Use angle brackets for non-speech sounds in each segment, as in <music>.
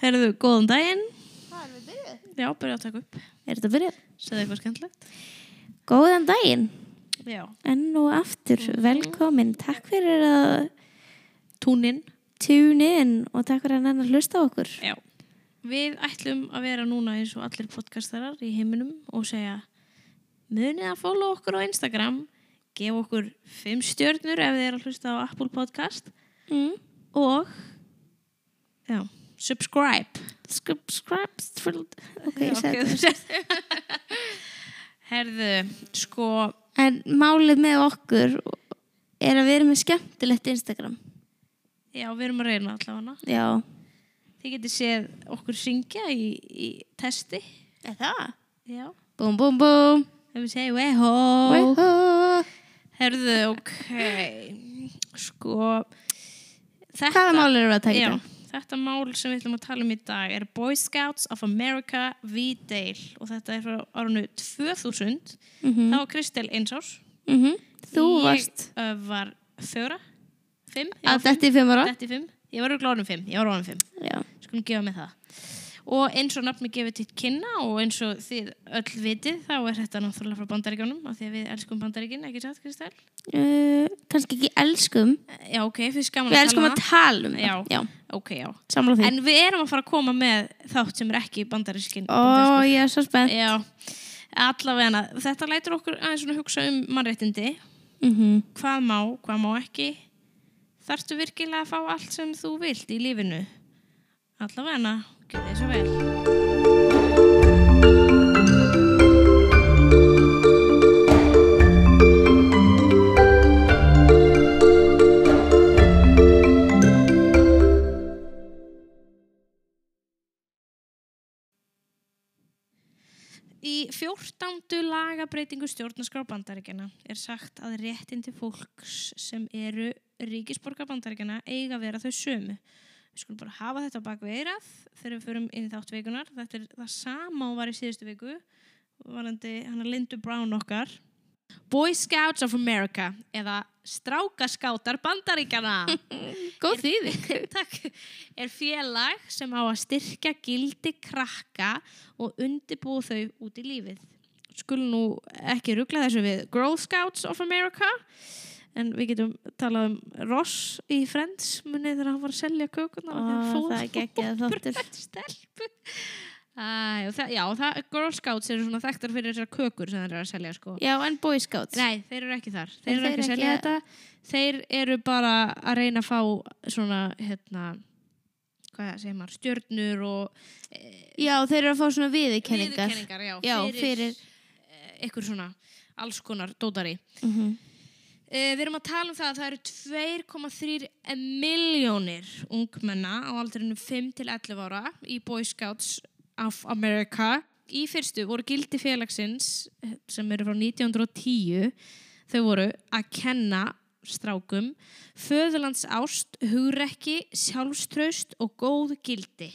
Herðu, góðan daginn. Það er við byrjuð. Já, byrja að taka upp. Er þetta byrjuð? Segðu eitthvað skemmtilegt. Góðan daginn. Já. Enn og aftur, Mhm. velkomin. Takk fyrir að Túnin. tune in og takk fyrir að nenn að hlusta á okkur. Já. Við ætlum að vera núna eins og allir podcastarar í heiminum og segja munið að follow okkur á Instagram, gef okkur fimm stjörnur ef þið er að hlusta á Apple Podcast Mm. Mhm. og já, subscribe. Subscribe. thrilled. Ok, Já, ég ok, sagði þú þetta. sagði það. <laughs> Herðu, sko, En málið með okkur er að við erum með skemmtilegt Instagram. já, við erum að reyna allavega. Já. Þið getið séð okkur syngja í, í testi. Er það? Já. Búm, búm, búm. Ef við segjum wehó. Weyhó. Herðu, ok. Sko, þetta... Hvaða mál erum við að taka í Já, dag? þetta mál sem við ætlum að tala um í dag er Boy Scouts of America v Dale og þetta er frá árunnu 2000. Mm Þá var Kristel eins árs. Mhm. Þú ég, varst Ég var fjóra, fimm. ég var að þetta í fimm ára. fimm, Detti fimm. Ég var örugglega orðin fimm, ég var orðin fimm. Já. skulum gefa mig það og eins og nafni gefið til kynna og eins og þið öll vitið þá er þetta náttúrulega frá bandaríkjónum af því að við elskum bandaríkin, ekki satt Kristel? Uh, kannski ekki elskum. Já, ok, finnst gaman Við elskum um að tala um það. Já. Já. það Ok, já Samla því. En við erum að fara að koma með þátt sem er ekki bandarískin Ó, ég er svo spennt. Já, allavega þetta lætur okkur aðeins svona hugsa um mannréttindi Mm hvað má, hvað má ekki þarftu virkilega að fá allt sem þú vilt í lífinu allavega, gjör þið svo vel Í 14. lagabreitingu stjórnarskrá bandaríkjana er sagt að réttindi fólks sem eru ríkisborgar bandaríkjana eiga að vera þau sömu. Við skulum bara hafa þetta á bak við eirað þegar við förum inn í þátt vikunar. Þetta er það sama og var í síðustu viku, varandi hann að Lindu Brown okkar. Boy Scouts of America eða Strákaskáttar bandaríkjana. Góð þýðing. <laughs> Takk. Er félag sem á að styrkja gildi krakka og undibúa þau út í lífið. Skulum nú ekki rugla þessu við Girl Scouts of America en við getum talað um Ross í Friends munið þegar hann var að selja kökunar Ó, það er geggjað þáttur. stelpu. Æ, og það, já, það, Girl Scouts eru svona þekktar fyrir þessar kökur sem þeir eru að selja sko. Já, en Boy Scouts. Nei, þeir eru ekki þar. Þeir En eru ekki að þeir selja ekki- þetta. Þeir eru bara að reyna að fá svona, hérna, hvað segir maður, stjörnur og Já, þeir eru að fá svona viðurkenningar. viðurkenningar, já, Já, fyrir- eh, ykkur svona alls konar dótari. Mm Uh, við erum að tala um það að það eru 2,3 miljónir ungmenna á aldrinu 5 til 11 ára í Boy Scouts of America. Í fyrstu voru gildi félagsins eh, sem eru frá 1910 þau voru að kenna strákum föðurlands ást, hugrekki, sjálfströst og góð gildi.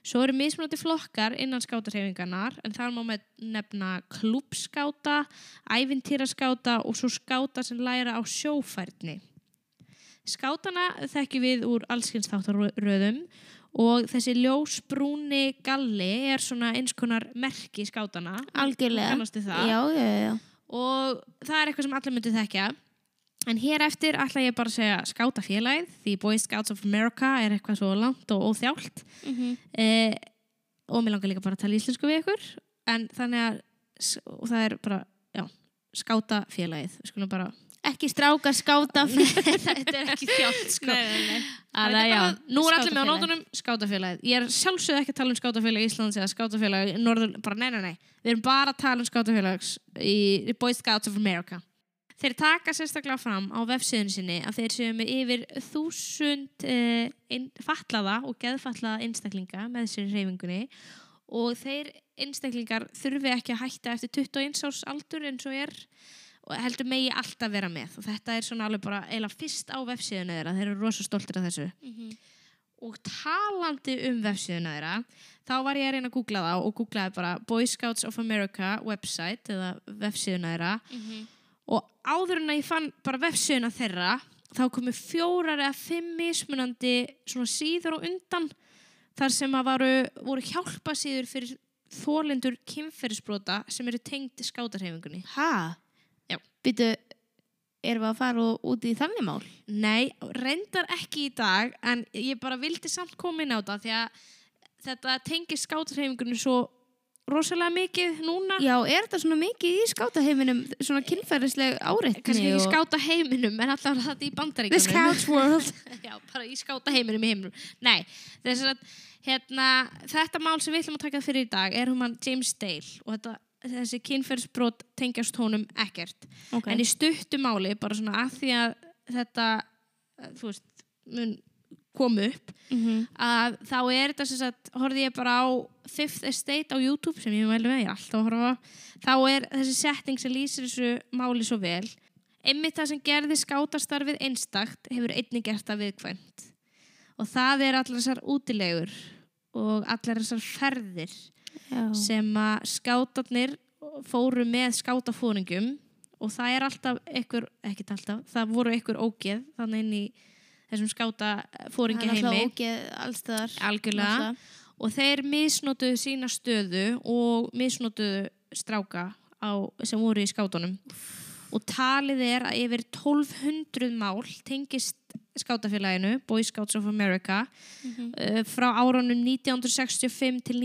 Svo eru mismunandi flokkar innan skátarhefingarnar en þar má með nefna klúbskáta, ævintýraskáta og svo skáta sem læra á sjófærni. Skátana þekkjum við úr allskynstáttarröðum og þessi ljósbrúni galli er svona eins konar merki skátana. Algjörlega. Kannastu það? Já, já, já. og það er eitthvað sem allir myndu þekkja en hér eftir ætla ég bara að segja skátafélagið því Boy Scouts of America er eitthvað svo langt og óþjált Mm -hmm. eh, og mér langar líka bara að tala íslensku við ykkur en þannig að s- og það er bara, já, skátafélagið við skulum bara Ekki strákar <laughs> skáta. þetta er ekki þjált sko nei, nei. Að Þetta er já, bara nú er allir með á skátafélagið. nótunum skátafélagið. Ég er sjálfsögð ekki að tala um skátafélag í Íslands eða skátafélag í Norður, bara nei, nei, nei. Við erum bara að tala um skátafélags í, í Boy Scouts of America. Þeir taka sérstaklega fram á vefsíðun sinni að þeir séu með yfir þúsund uh, inn, fatlaða og geðfatlaða einstaklinga með sér reyfingunni og þeir einstaklingar þurfi ekki að hætta eftir 21 árs aldur eins og er og heldur megi alltaf vera með og þetta er svona alveg bara eiginlega fyrst á vefsíðuna þeirra, þeir eru rosa stoltir af þessu og talandi um vefsíðuna þeirra þá var ég að reyna að googla það og googlaði bara Boy Scouts of America website eða vefsíðuna þeirra og áður en að ég fann bara vefsíðuna þeirra þá komu fjórar eða fimm mismunandi svona síður og undan þar sem að varu, voru hjálpasíður fyrir þólendur kynferðisbrota sem eru tengd skátarhefingunni. Hæ? Já. Býtu, erum við að fara ú- út í þannig mál? Nei, reyndar ekki í dag en ég bara vildi samt koma inn á þetta því að þetta tengir skátarhefingunni svo rosalega mikið núna. Já, er þetta svona mikið í skátaheiminum, svona kynferðisleg áreitni? kannski ekki og- skáta heiminum en allavega þetta í The bandaríkunum Scouts World. <laughs> já, bara í skáta heiminum í heiminum nei, þess að hérna, þetta mál sem við ætlum að taka fyrir í dag er hún mann James Dale og þetta, þessi kynferðsbrot tengjast honum ekkert okay. en í stuttu máli, bara svona að því að þetta, eh, þú veist mun kom upp mm -hmm. að þá er þetta sem sagt, horfði ég bara á Fifth Estate á YouTube sem ég mælu með, ég er alltaf að horfa á. þá er þessi setting sem lýsir þessu máli svo vel einmitt það sem gerði skátastarfið einstakt hefur einnig gert það viðkvæmt og það er allar þessar útilegur og allar þessar ferðir Já. sem að skátarnir fóru með skátafóringum og það er alltaf ykkur, ekkert alltaf, það voru ykkur ógeð þannig inn í þessum skátafóringi Það er alltaf heimi ógeð allstaðar. Algjörlega. Náttúrulega. Og þeir misnotuðu sína stöðu og misnotuðu stráka á, sem voru í skátunum. Og talið er að yfir 1200 mál tengist skátafélaginu, Boy Scouts of America, Mhm. uh, frá árunum 1965 til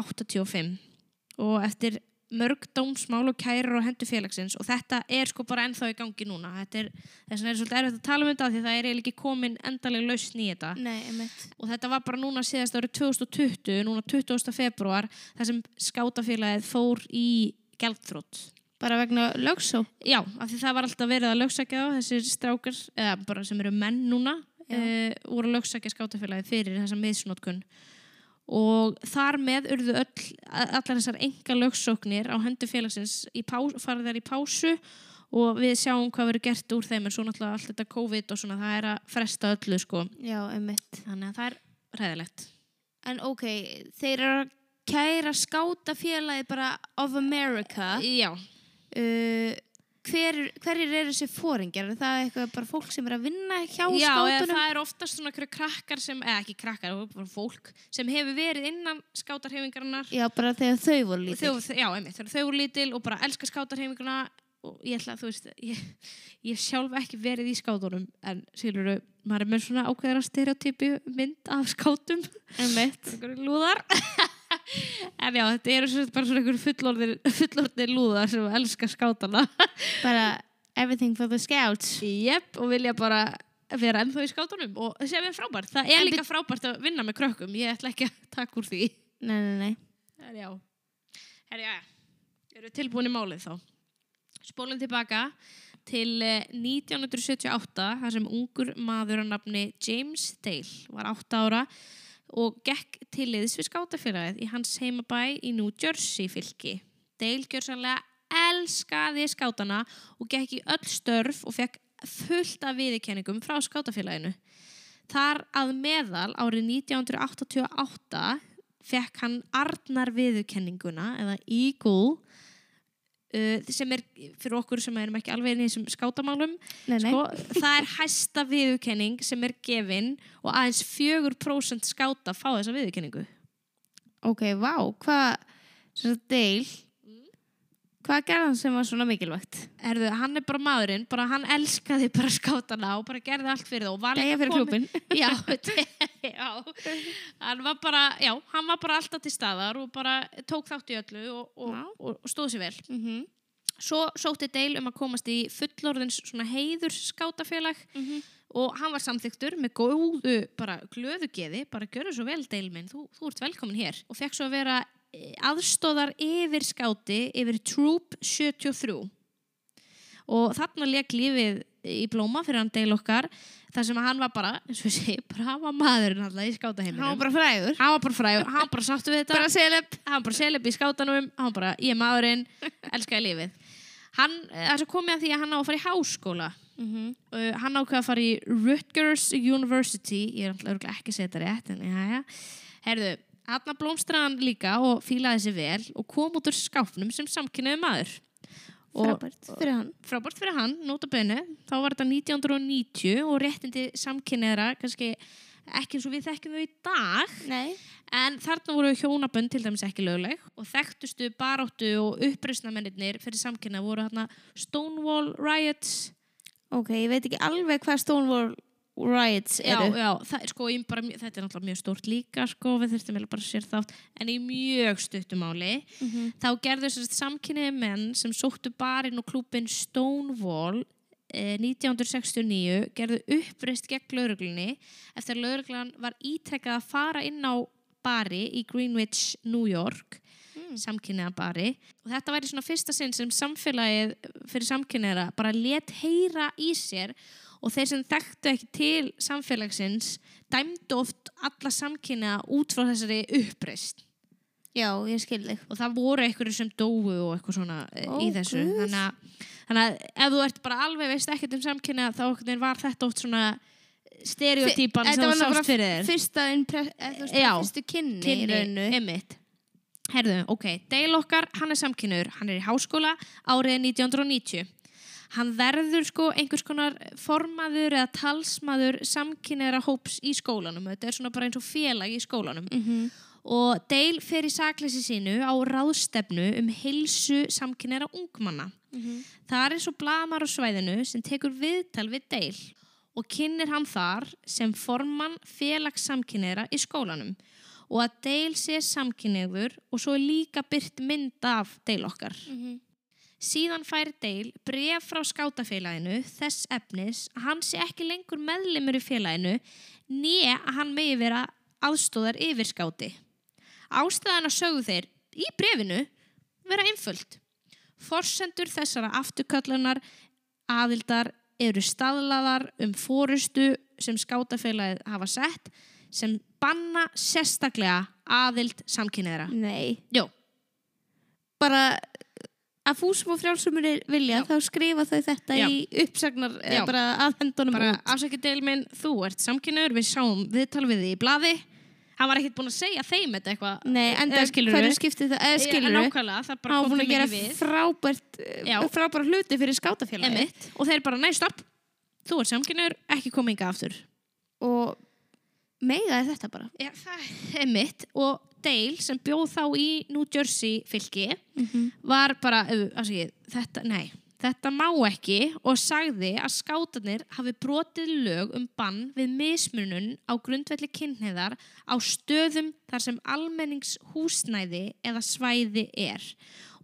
1985. Og eftir mörg dómsmál og kærar og hendur félagsins og þetta er sko bara ennþá í gangi núna. Þetta er, þess vegna er svolítið erfitt að tala um þetta af því það er eiginlega ekki komin endaleg lausn í þetta Nei, einmitt. og þetta var bara núna síðast árið 2020, núna 20. februar þar sem skátafélagið fór í gjaldþrótt. Bara vegna lögsó. Já, af því það var alltaf verið að lögsækja þá, þessir strákar, eða bara sem eru menn núna, Já. uh, voru að lögsækja skátafélagið fyrir þessa miðsnotkun. Og þar með urðu öll, allar þessar enga lögsóknir á hendu félagsins í pás, farið þær í pásu og við sjáum hvað verður gert úr þeim en svo náttúrulega allt þetta COVID og svona það er að fresta öllu sko. Já, einmitt. Þannig að það er ræðilegt. En ok, þeir eru að kæra skátafélagi bara of America. Já, Uh, hver, hverjir eru þessi fóringar? Er það eitthvað bara fólk sem er að vinna hjá Já, eða skátunum? það er oftast svona einhverju krakkar sem, eða ekki krakkar, það er bara fólk sem hefur verið innan skátarhefingarinnar. Já, bara þegar þau voru lítil. Þau, já, einmitt, þegar þau eru lítil og bara elska skátarhefinguna og ég ætla að þú veist, ég, ég hef sjálf ekki verið í skátunum en síluru, maður er með svona ákveðara stereotypi mynd af skátum, <laughs> Einmitt. einhverju lúðar. en já, þetta eru sem sagt bara svona einhverju fullorðir, fullorðir lúðar sem elska skátana. Bara everything for the scouts. Jep, og vilja bara vera ennþá í skátunum og sem er frábært. Það er En líka frábært að vinna með krökkum, ég ætla ekki að taka úr því. Nei, nei, nei. Herjá, herjá, eru tilbúin í málið þá. Spólum tilbaka til eh, 1978, þar sem ungur maður að nafni James Dale var 8 ára og gekk til liðs við skátafélagið í hans heimabæ í New Jersey fylki. Dale gjör sannlega elskaði skátana og gekk í öll störf og fekk fullt af viðurkenningum frá skátafélaginu. Þar að meðal árið 1988 fekk hann Arnar viðurkenninguna eða Eagle uh, sem er fyrir okkur sem erum ekki alveg inn í þessum skátamálum nei, nei. sko, það er hæsta viðurkenning sem er gefin og aðeins 4% skáta fá þessa viðurkenningu Ok, vá, hvað, svo deil, hvað gerði hann sem var svona mikilvægt? Herðu, hann er bara maðurinn, bara hann elskaði bara skátana og bara gerði allt fyrir það og var Degja líka fyrir kominn- klúbin. <laughs> já, já. Hann var bara, já, hann var bara alltaf til staðar og bara tók þátt í öllu og, og, Já. og, og stóð sér vel. Mm -hmm. Svo sótti Dale um að komast í fullorðins svona heiður skátafélag og hann var samþyktur með góðu, bara glöðu geði, bara gjöru svo vel Dale minn, þú, þú ert velkomin hér. Og fekk svo að vera eh, aðstóðar yfir skáti yfir Troop 73 og þarna leik lífið í blóma fyrir hann Dale okkar þar sem að hann var bara, eins og ég segi, bara hann var maðurinn alltaf í skátaheiminum. Hann var bara frægur. hann var bara fræður, hann var bara sáttu við þetta Bara seleb. hann bara seleb í skátanum hann bara, ég er maðurinn, elskaði lífið hann, eh, það er svo komið að því að hann á að fara í háskóla Mm -hmm. uh, hann ákveða að fara í Rutgers University ég er alltaf örugglega ekki að segja þetta rétt en jæja, herðu Hanna blómstraðan líka og fílaði sér vel og kom út úr skápnum sem samkynnaði maður. Og Frábært fyrir hann. frábært fyrir hann, nota bene, þá var þetta 1990 og réttindi samkynnaðra, kannski ekki eins og við þekkjum þau í dag, Nei. En þarna voru hjónabönd til dæmis ekki lögleg og þekktustu baráttu og uppreisnamennir fyrir samkynna voru hérna Stonewall Riots. Ok, ég veit ekki alveg hvað Stonewall Riots Já, eru. já, það, er sko, í bara, mjög- þetta er náttúrulega mjög stórt líka, sko, við þurftum vel bara að sér þátt, en í mjög stuttumáli. Mm -hmm. Þá gerðu sérst samkynniði menn sem sóttu barinn og klúbin Stonewall eh, 1969 gerðu uppreist gegn lauruglunni eftir að lauruglan var ítrekkað að fara inn á bari í Greenwich, New York Mm. samkynniða bari og þetta væri svona fyrsta sinn sem samfélagið fyrir samkynniðra bara let heyra í sér og þeir sem þekktu ekki til samfélagsins dæmdu oft alla samkynniða út frá þessari uppreist Já, ég skil þig. og það voru einhverju sem dóu og eitthvað svona Ó, oh, í þessu guð. þannig að, þannig að ef þú ert bara alveg veist ekkert um samkynna þá einhvern veginn var þetta oft svona stereotýpan sem Þetta þú var náttúrulega sást fyrir þér Fyrsta, innpre- eða þú veist, Já. bara fyrstu kynni, í rauninu. einmitt Herðu, ok, Dale okkar, hann er samkynur, hann er í háskóla árið 1990. Hann verður sko einhvers konar formaður eða talsmaður samkynera hóps í skólanum. Þetta er svona bara eins og félag í skólanum. Mm -hmm. og Dale fer í sakleysi sínu á ráðstefnu um heilsu samkynera ungmanna. Það er svo blamar á svæðinu sem tekur viðtal við Dale og kynir hann þar sem formann félags samkynera í skólanum og að Dale sé samkynniður og svo er líka byrt mynd af Dale okkar. Síðan fær Dale bref frá skátafélaginu þess efnis að hann sé ekki lengur meðlimur í félaginu né að hann megi vera aðstóðar yfir skáti. Ástæðan að sögðu þeir í brefinu vera einföld. Forsendur þessara afturkallunar aðildar eru staðlaðar um fórustu sem skátafélagið hafa sett sem banna sérstaklega aðild samkynniðra. Nei. Jó, Bara að fúsum og frjálsumur vilja, þá skrifa þau þetta Já. í uppsagnar, Já. eða bara aðhendunum bara út. afsakið deil minn, þú ert samkynnaður, við sáum viðtal við þig í blaði hann var ekkert búinn að segja þeim þetta eitthvað Nei, en Eða skilurðu? hverju skipti það, eða skilur Eh, nákvæmlega, það bara Hann var kom búin þeim að gera ekki við frábært, Já. frábæra hluti fyrir skátafélagi. Einmitt. og þeir bara, nei stopp, þú ert samkynnaður ekki koma inga aftur Og meiga er þetta bara. ja, emitt, og Dale sem bjóð þá í New Jersey fylki var bara, "Ö, afsakið, þetta, nei Þetta má ekki og sagði að skátanir hafi brotið lög um bann við mismunun á grundvelli kynniðar á stöðum þar sem almenningshúsnæði eða svæði er.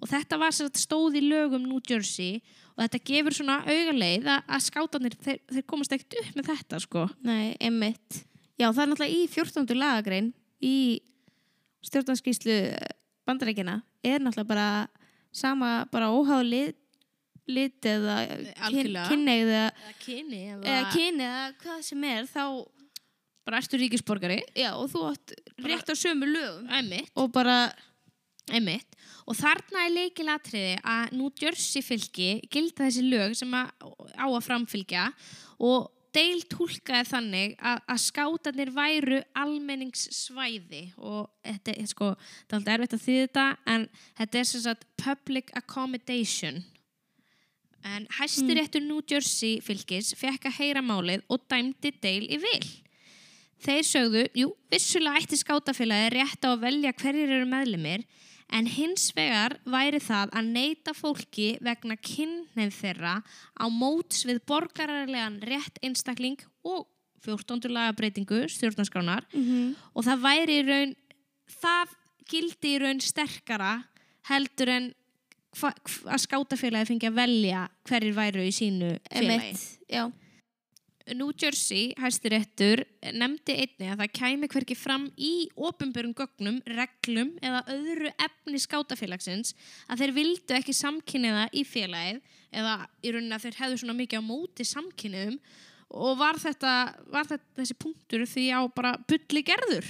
Og þetta var sér að stóð í lögum New Jersey og þetta gefur svona augaleið að, að skátanir, þeir, þeir komast ekkert upp með þetta sko. Nei, einmitt. Já, það er náttúrulega í 14. lagagrein í stjórnarskýslu bandarækina er náttúrulega bara sama, bara óháð lit, lit eða kyn, Algjörlega. kynneið eða, Eða kyni eða kynið eða hvað sem er þá, Bara ertu ríkisborgari? já, og þú átt rétt á sömu lögum Æmi. og bara, Einmitt. Og þarna er leikilatriði að New Jersey fylgi gilda þessi lög sem að, á að framfylgja og Dale tólkaði þannig að, að skátanir væru almenningssvæði og þetta er sko, það er alltaf erfitt að þýða þetta en þetta er sem sagt public accommodation en hæstiréttur New Jersey fylgis fekk að heyra málið og dæmdi Dale í vil. Þeir sögðu, jú, vissulega ætti skátafélagi rétt á að velja hverjir eru meðlimir, en hins vegar væri það að neyta fólki vegna kynneið þeirra á móts við borgararlegan rétt einstakling og 14. lagabreitingu stjórnarskránar og það væri í raun, það gildi í raun sterkara heldur en hva, hva, að skátafélagi fengi að velja hverjir væru í sínu félagi. einmitt, já. New Jersey, hæstiréttur, nefndi einni að það kæmi hverki fram í ofinbörum gögnum, reglum eða öðru efni skátafélagsins að þeir vildu ekki samkynniða í félagið eða í rauninni að þeir hefðu svona mikið á móti samkynniðum og var þetta, var þetta þessi punktur því á bara bulli gerður.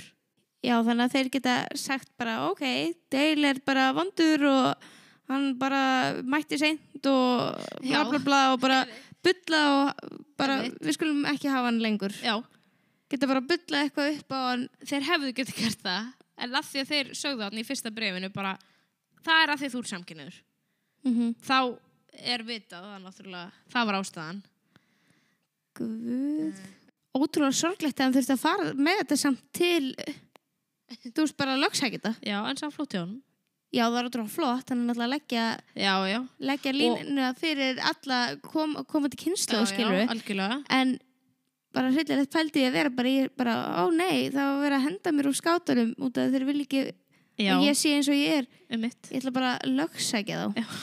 Já, þannig að þeir geta sagt bara, ok, Dale er bara vondur og hann bara mætti seint og bla Já. bla bla og bara bulla og bara, Einmitt. við skulum ekki hafa hann lengur. Já, Geta bara bulla eitthvað upp á hann. þeir hefðu getið gert það en að því að þeir sögðu þarna í fyrsta brefinu bara það er að því þú er samkynniður. Þá er vitað að náttúrulega það var ástæðan. Guð. Ótrúlega sorglegt að hann þurfti að fara með þetta samt til þú veist bara lögshæk þetta Já, en sá flott hjá honum. já það var ótrúlega flott hann er náttúrulega að leggja, Já, já. leggja línuna fyrir alla kom, komandi Já, kynslu já, og skilur algjörlega. en bara hryllilegt pældi ég að vera bara, ég, bara ó nei, það var að vera að henda mér úr skátunum út af þeir vilja ekki Já, að ég sé eins og ég er um mitt. ég ætla bara að lögsækja þá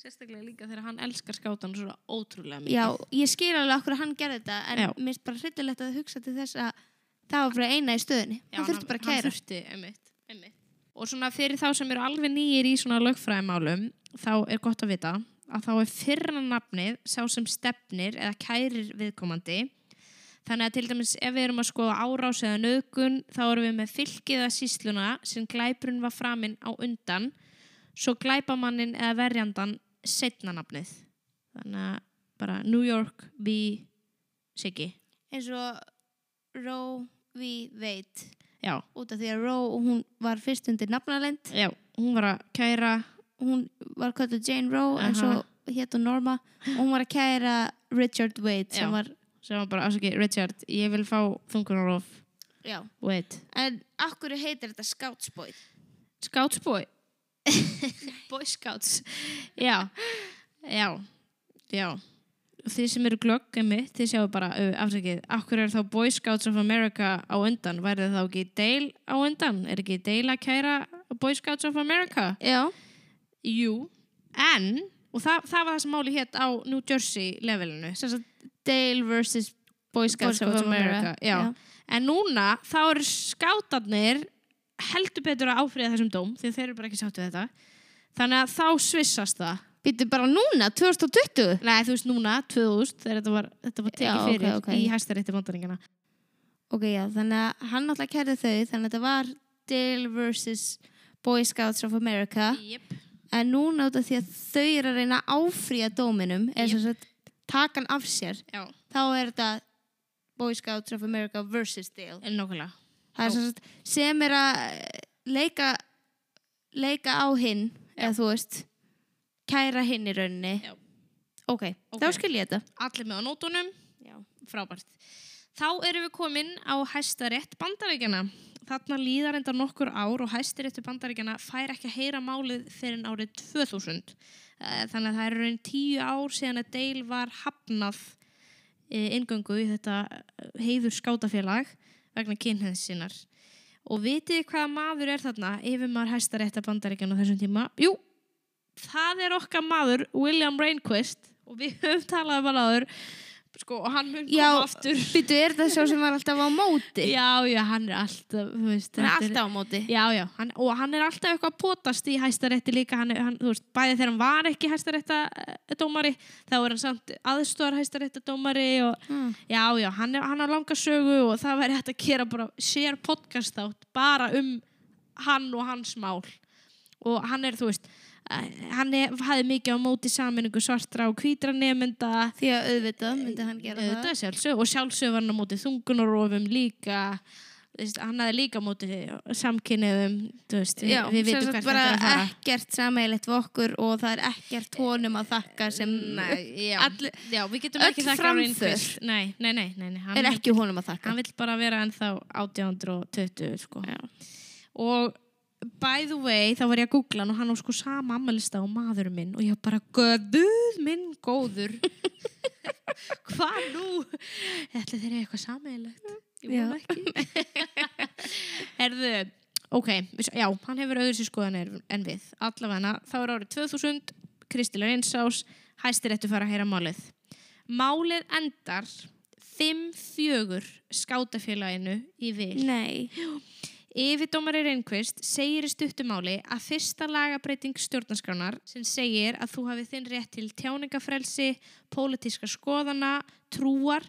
Sérstaklega líka þegar hann elskar skátan svona ótrúlega mikið. já, ég skil alveg okkur að hann gerði þetta en Já. mér er bara hryllilegt að hugsa til þess að það var bara eina í stöðinni Já, hann þurfti bara að Hann kæra þurfti, einmitt, einmitt. Og svona fyrir þá sem eru alveg nýjir í svona lögfræðimálum, þá er gott að vita að þá er fyrra nafnið sá sem stefnir eða kærir viðkomandi. Þannig að til dæmis ef við erum að skoða árás eða nöðgun, þá erum við með fylkið eða sísluna sem glæpurinn var framinn á undan, svo glæpamannin eða verjandan setna nafnið. Þannig að bara New York v. Siggi. eins og Roe v. Wade Já, út af því að Roe, hún var fyrst undir nafnalend já, hún var að kæra hún var kallið Jane Roe en Aha. svo hétt hún Norma og hún var að kæra Richard Wade sem Já. var, sem var bara, afsaki, Richard, ég vil fá þungunarof, já wait. en akkur heitir þetta skátsbói Scouts boy. <laughs> boy scouts. Já, já, já. Og Þið sem eru glögg en mitt, þið sjáu bara, uh, afsakið, akkur er þá Boy Scouts of America á undan? Værið þá ekki Dale á undan? Er ekki Dale að kæra Boy Scouts of America? já, Jú, en, og það, það var það sem máli hétt á New Jersey levelinu, sem sagt Dale vs. Boy Scouts, of, America, Já. en núna þá eru skátarnir heldur betur að áfriða þessum dóm því þeir eru bara ekki sáttu við þetta þannig að þá svissast það býttu bara núna, 2020 Nei, þú veist núna, 2000 þegar þetta var, þetta var tekið Já, ok, fyrir ok. í hæstarétti bandaringana ok, já, þannig að hann alltaf kærði þau þannig að þetta var Dale vs. Boy Scouts of America yep. en núna út af því að þau eru að reyna að áfrýja dóminum eða sem sagt, taka hann af sér Já, þá er þetta Boy Scouts of America vs. Dale en nákvæmlega það er sem, sagt, sem er að eh, leika leika á hinn eða þú veist kæra hinn í rauninni Já. ok, Ok. þá skil ég þetta Allir með á nótunum, já. frábært Þá erum við komin á hæstarétt bandaríkjana Þarna líðar enda nokkur ár og hæstaréttu bandaríkjana fær ekki að heyra málið fyrir árið 2000. Eh, Þannig að það eru raun tíu ár síðan að Deil var hafnað ingöngu í þetta eh, heiður skátafélag vegna kynhens sinnar. Og vitið þið hvaða maður er þarna yfir maður hæstarétta bandaríkjana á þessum tíma? Jú, það er okkar maður William Rehnquist og við höfum talað um hann áður sko, og hann mun Já, koma <laughs> aftur. býtu, er þetta sá sem var alltaf á móti Já, já, hann er alltaf, þú veist, hann er þetta alltaf á móti Já, já, hann, og hann er alltaf eitthvað að potast í hæstarétti líka, hann, er- hann, þú veist, bæði þegar hann var ekki hæstarétta eh, dómari, þá er hann samt aðstofar hæstarétta dómari og Hmm. já, já, hann, er, hann er langa sögu og það væri hægt að gera bara sér podcast átt bara um hann og hans mál og hann er, þú veist, eh, hann er, hafði mikið á móti sammenningu svartra og hvítra nefnda því að auðvitað myndi hann gera auðvitað sjálfsög og sjálfsög var hann á móti þungunarofum líka þú veist, hann hafði líka á móti samkynniðum þú veist, það við, við vitum hvert þetta er að fara ekkert sameiglegt við okkur og það er ekkert honum að þakka sem já. all, já, við getum öll ekki þakka framför. Rehnquist. nei, nei, nei, nei, nei. Hann, er ekki honum að þakka hann vill bara vera ennþá 1820 sko. og by the way, þá var ég að googla hann og hann á sko sama ammælista og maður minn og ég bara, göðuð minn góður <laughs> hvað nú? Ætli þeir eru eitthvað sameiglegt? Ég vona Já. ekki Herðu, ok, við- já, hann hefur öðru sér skoðanir en við allavega, þá er árið 2000 Kristilega Einsás, hæstir eftir fara að heyra málið Málið endar 5-4 skátafélaginu í vil nei, Yfirdómari Rehnquist segir í stuttumáli að fyrsta lagabreiting stjórnarskránar sem segir að þú hafi þinn rétt til tjáningafrelsi, pólitíska skoðana, trúar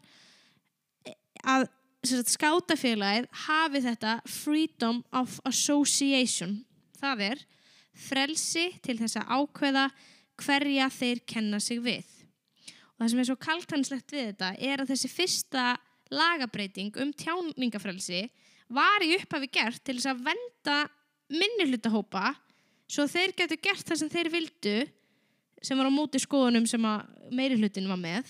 að sem sagt, skátafélagið hafi þetta freedom of association. Það er frelsi til þess að ákveða hverja þeir kenna sig við. Og það sem er svo kaltanslegt við þetta er að þessi fyrsta lagabreiting um tjáningafrelsi var í upphafi gert til þess að venda minnihlutahópa svo þeir getur gert það sem þeir vildu sem var á móti skoðunum sem að meiri hlutin var með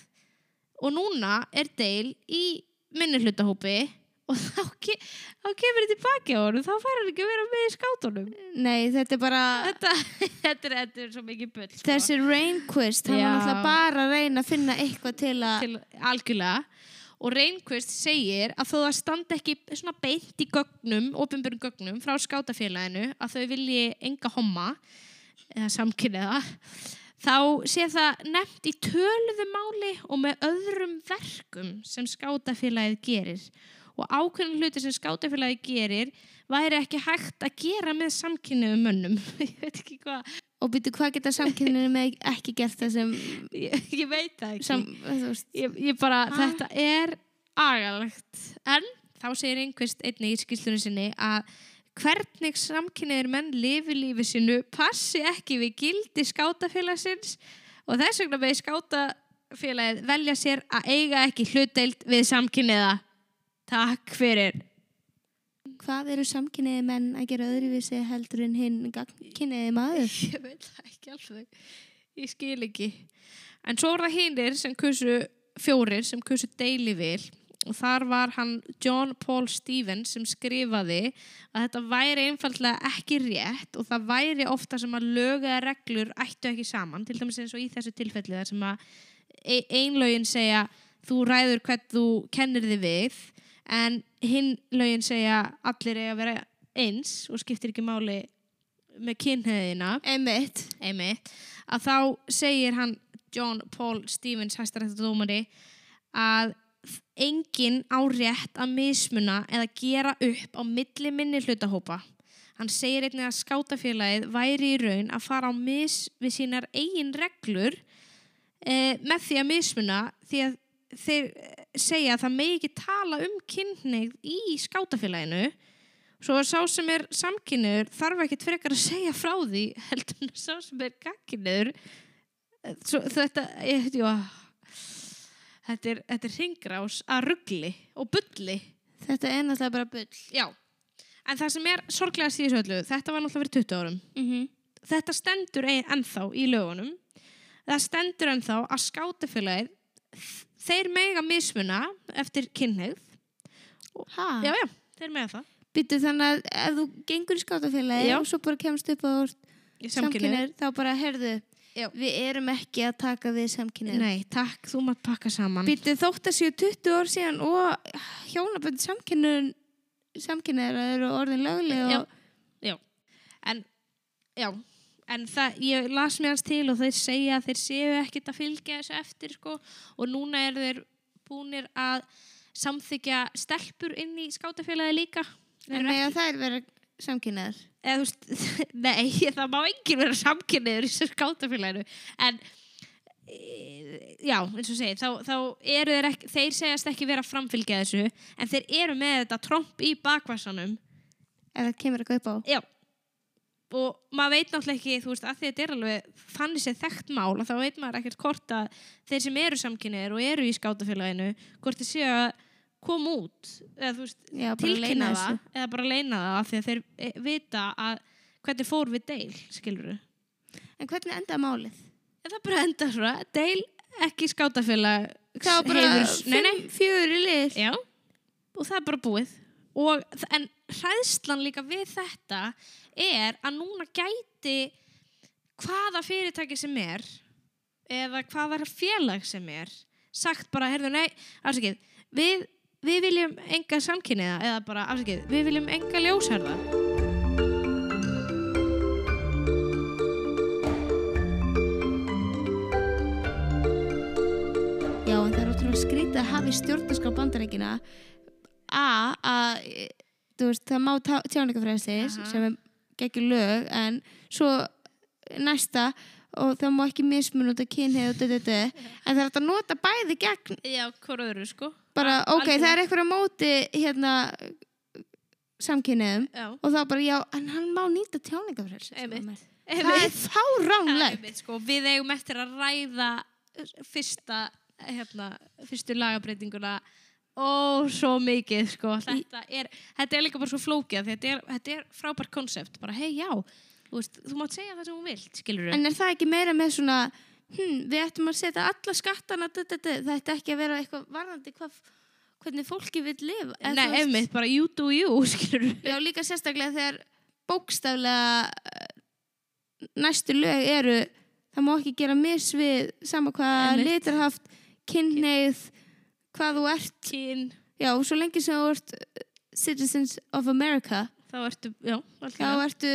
og núna er Dale í minnihlutahópi og þá, ke þá kemur þetta tilbaki á honum þá fær hann ekki að vera með í skátunum Nei, þetta er bara þetta, <laughs> þetta, er, þetta er svo mikið bull sko. þessi Rainquist, hann var Já. náttúrulega bara að reyna að finna eitthvað til að til algjörlega og Reynquist segir að þó að standa ekki svona beint í gögnum, ofinbjörn gögnum frá skátafélaginu að þau vilji enga homma eða samkynniða þá sé það nefnt í töluðu máli og með öðrum verkum sem skátafélagið gerir og ákveðin hluti sem skátafélagið gerir væri ekki hægt að gera með samkynniðum mönnum <laughs> ég veit ekki hvað og byrju hvað geta samkynninni með ekki gert það sem, ég, ég veit það ekki sem þú veist, ég, ég bara, Ah. þetta er agalegt, en þá segir einhverst einnig í skýslunni sinni að hvernig samkynniðir menn lifi lífi sinu passi ekki við gildi skátafélagsins og þess vegna með skátafélagið velja sér að eiga ekki hlutdeild við samkynniða takk fyrir hvað eru samkynniði menn að gera öðruvísi heldur en hinn gagnkynniði maður ég veit það ekki alveg ég skil ekki en svo voru það hinnir sem kusu fjórir sem kusu Dailyville og þar var hann John Paul Stevens sem skrifaði að þetta væri einfaldlega ekki rétt og það væri ofta sem að lög eða reglur ættu ekki saman til dæmis eins og í þessu tilfelli þar sem að e- ein lögin segja þú ræður hvern þú kennir þig við en hinn lögin segja allir eiga að vera eins og skiptir ekki máli með kynhæðina einmitt einmitt, að þá segir hann John Paul Stevens hæstarættadómari að enginn á rétt að mismuna eða gera upp á milli minni hlutahópa. Hann segir einnig að skátafélagið væri í raun að fara á mis við sínar eigin reglur e, með því að mismuna því að þeir eh, segja að það megi ekki tala um kynneið í skátafélaginu Svo að sá sem er samkynniður þarf ekkert frekar að segja frá því heldur en að sá sem er gagkynniður Svo, þetta, ég, jú, ah. þetta er, þetta er ringrás að ruggli og bulli þetta er náttúrulega bara bull Já, en það sem er sorglega í þessu öllu, þetta var náttúrulega fyrir 20 árum mm -hmm. þetta stendur ein- ennþá í lögunum það stendur ennþá að skátafélagið þeir mega mismuna eftir kynneið Ah. Já, já, þeir mega það býtu þannig að ef þú gengur í skátafélagi Já. og svo bara kemst upp á Samkynhneigð. samkynniði þá bara herðu Já. við erum ekki að taka við samkynniði Nei, takk, þú mátt pakka saman býtu þótt að séu 20 ár síðan og hjónabönd samkynniður samkynniður eru orðin lögleg Já, og já. En, já, en það, ég las mér hans til og þeir segja að þeir séu ekkert að fylgja þessu eftir sko og núna eru þeir búnir að samþykja stelpur inn í skátafélagi líka. Þeir en eru mega þær vera samkynniðar eða þú veist, <laughs> nei, það má enginn vera samkynniður í þessu skátafélaginu en e, já, eins og segi, þá, þá eru þeir ekki þeir segjast ekki vera að framfylgja þessu en þeir eru með þetta tromp í bakvassanum ef það kemur eitthvað upp á já og maður veit náttúrulega ekki, þú veist, að því þetta er alveg þannig sem þekkt mál og þá veit maður ekkert hvort að þeir sem eru samkynniður og eru í skátafélaginu, hvort þeir séu að koma út, eða þú veist Já, bara tilkynna leyna það, eða bara leina það af því að þeir eh, vita að hvernig fór við deil, skilur við En hvernig endaði málið? en það bara endar svona, deil ekki skátafélag Það var bara heiðurs- nei, nei, fimm- fjögur í lið. Já, og það er bara búið. Og, en hræðslan líka við þetta er að núna gæti hvaða fyrirtæki sem er eða hvaða félag sem er sagt bara, heyrðu, nei, afsakið, við, við viljum enga samkynniða eða bara, afsakið, við viljum enga ljósherða. Já, en það er ótrúlega skrítið að hafa í stjórnarskrá bandarækina A, að, e, þú veist, það má tjáningafræðsins Aha. sem er geggjur lög, en svo næsta og það má ekki mismun út af kynhið og dödödö en það er hægt að nota bæði gegn Já, hvort öðru, sko. bara, ok, algjörlega. það er eitthvað á móti hérna samkynniðum Já. og þá bara, já, en hann má nýta tjáningafræðsins Einmitt. það er fáránlegt Einmitt, sko, við eigum eftir að ræða uh, fyrsta, hérna, fyrstu lagabreitinguna ó, svo mikið sko. þetta, er, þetta er líka bara svo flókið þetta er, þetta er frábært konsept bara, hei, já, þú, veist, þú mátt segja það sem hún vilt skilur En er það ekki meira með svona "Hmm, hm, við ættum að setja alla skattana d -d -d, þetta ætti ekki að vera eitthvað varðandi hvað hvernig fólki vil lifa eða Nei, þú veist- einmitt, bara you do you, <laughs> skilur Já, líka sérstaklega þegar bókstaflega eh, næstu lög eru það má ekki gera mis við sama hvað Einmitt. litur haft, kynneið hvað þú ert Kín, já, svo lengi sem þú ert eh, citizens of America þá ertu, já, þá alltaf ertu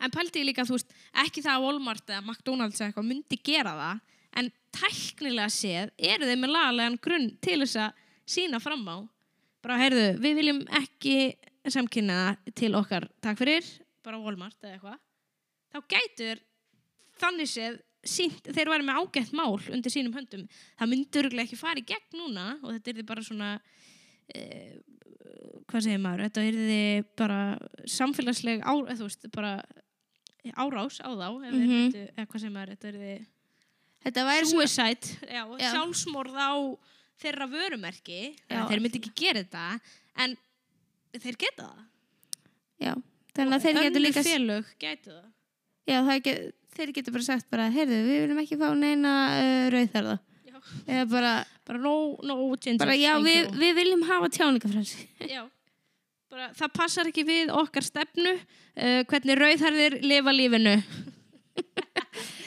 En pældi ég líka, þú veist, ekki það að Walmart eða McDonalds eða eitthvað myndi gera það en tæknilega séð eru þeir með lagalegan grunn til þess að sína fram á bara, heyrðu, við viljum ekki samkynna til okkar, takk fyrir bara Walmart eða eitthvað þá gætur þannig séð sínt, þeir væri með ágætt mál undir sínum höndum, það myndi örgulega ekki fara í gegn núna og þetta er bara svona eh, hvað segir maður, þetta er bara samfélagsleg á, eða, þú veist, bara árás á þá eða, mm Mhm. -hmm. eða hvað segir maður, þetta er þetta væri svona suicide, já, Já. sjálfsmorð á þeirra vörumerki Já, þeir myndi ekki gera þetta en þeir geta það já, þannig að þeir Önnur getur líka félög gætu það já, það get, þeir getur bara sagt bara, heyrðu, við viljum ekki fá neina uh, rauðherða Já. eða bara, bara no, no ginger bara já, thank við, you." við viljum hafa tjáningafrelsi Já, bara það passar ekki við okkar stefnu, uh, hvernig rauðherðir lifa lífinu.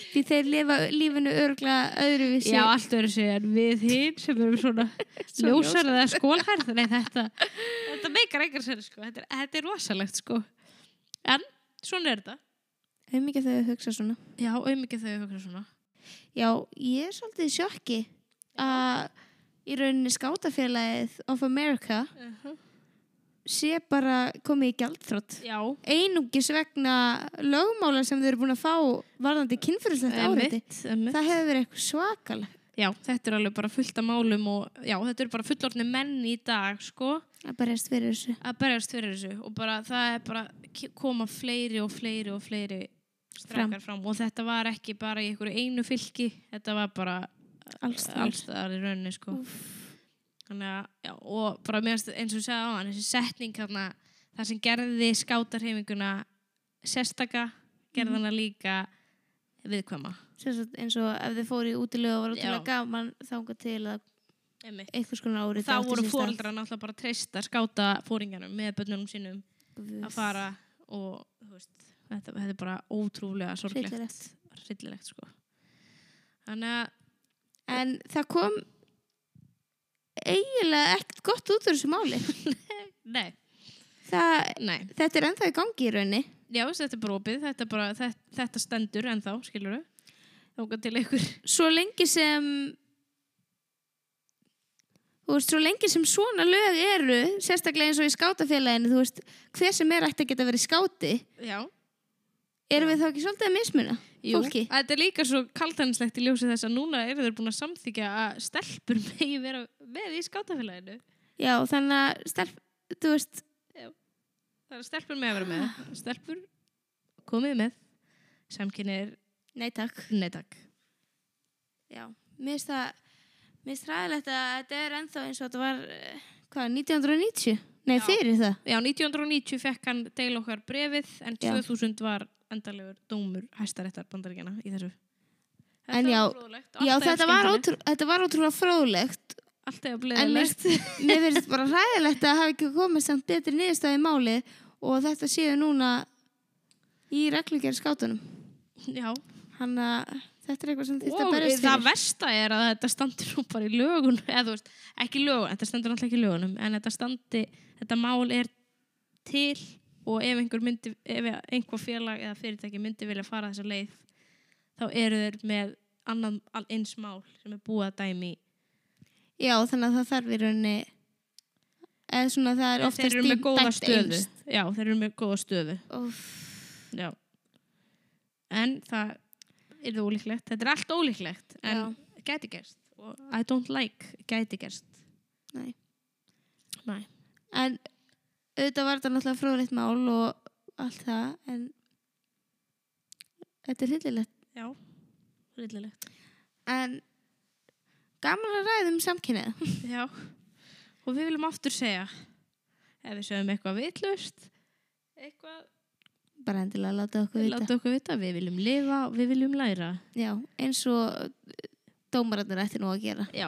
Því þeir lifa lífinu örglega öðruvísi. Já, allt verður sér við hinn sem erum svona <laughs> <laughs> Svo ljósar eða skólherð. Nei, þetta, <laughs> þetta meikar engar sér, sko. Þetta er, þetta er rosalegt, sko. En, svona er þetta. Hefur mikið þegar þau hugsa svona. Já, auðvitað þau höfðu svona. Já, ég er svolítið í sjokki að í rauninni skátafélagið of America sé bara komið í gjaldþrótt. Já, Einungis vegna lögmála sem þau eru búin að fá varðandi kynfyrirslegt áriði. einmitt, einmitt. Það hefur verið eitthvað svakalega. Já, þetta er alveg bara fullt af málum og já, þetta eru bara fullorðni menn í dag, sko. Það bara erst verið þessu. að berjast fyrir þessu og bara það er bara ki- koma fleiri og fleiri og fleiri strákar fram. og þetta var ekki bara í einhverju einu fylki þetta var bara Alls eh, staðar. staðar í rauninni sko þannig að já, og bara meðast eins og ég sagði á hann þessi setning þarna það sem gerði skátarheiminguna sérstaka gerði hana líka viðkvæma Sem sagt, eins og ef þau fóru í útilegu og Já. var útilega gaman þánga til að Einmitt. eitthvað skona áriði. þá voru fóreldrar náttúrulega bara að treysta skáta fóringanum með börnunum sínum að fara og þú veist, þetta, þetta er bara ótrúlega sorglegt Hryllilegt. hryllilegt sko þannig að En það kom eiginlega ekkert gott út úr þessu <laughs> máli. nei, Það, nei, þetta er ennþá í gangi í raunni. já veist, þetta er bara opið þetta, er bara, þetta, þetta stendur ennþá, skilur við þóka til ykkur Svo lengi sem þú veist, svo lengi sem svona lög eru, sérstaklega eins og í skátafélaginu, þú veist, hver sem er ætti að geta verið skáti, já, erum við þá ekki svolítið að mismuna fólki? Að þetta er líka svo kaltanslegt í ljósi þess að núna eru þeir búin að samþykja að stelpur <laughs> megi vera með í skátafélaginu Já, þannig að stelp, þú veist, það er að stelpur megi að vera Ah. með stelpur komið með samkynir nei takk. neittak Já, mér finnst það, mér finnst ræðilegt að þetta er ennþá eins og þetta var, eh, hvað, 1990? Nei, Já. fyrir það. Já, 1990 fekk hann deil okkar brefið en Já. 2000 var endalegur dómur hæstaréttar bandaríkjana í þessu. En já, var fróðlegt, allt Já, eða þetta var, skemmtilegt, ótrú, þetta var ótrúlega fróðlegt Allt eða en mér bleðilegt. finnst- mér finnst bara ræðilegt að hafa ekki komið samt betri niðurstaði í máli og þetta séu núna í reglugjör skátunum. <laughs> Já, Hann að þetta er eitthvað sem þýtt að og berjast það fyrir. versta er að þetta standur nú bara í lögun, eða þú veist, ekki lögun, þetta standur alltaf ekki í lögunum, en þetta standi, þetta mál er til og ef einhver myndi, ef einhver félag eða fyrirtæki myndi vilja fara þessa leið, þá eru þeir með annan al- eins mál sem er búið að dæmi í Já, þannig að það þarf í rauninni eða svona það er En oftast þeir eru með dýmt góða dæmt stöðu einst. já, þeir eru með góða stöðu Óff. já. en það er það ólíklegt þetta er allt ólíklegt en gæti gerst og I don't like gæti gerst Nei. Nei. En auðvitað var þetta náttúrulega fróðlegt mál og allt það en þetta er hryllilegt. já, rillilegt en gaman að ræða um samkynnið já. og við viljum aftur segja ef við sögum eitthvað vitlust eitthvað bara endilega láta okkur vita láta okkur vita, við viljum lifa og við viljum læra Já, eins og eh, dómararnir ætti nú að gera já,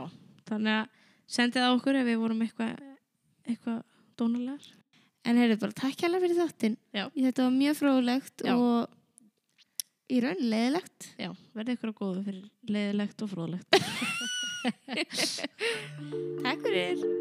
þannig að sendið á okkur ef við vorum eitthvað eitthvað dónalegar En heyrðu bara takk hérlega fyrir þáttinn. Já. Þetta var mjög fróðlegt Já. og í raun leðilegt. Já, verði ykkur að góðu fyrir leiðilegt og fróðlegt Takk fyrir.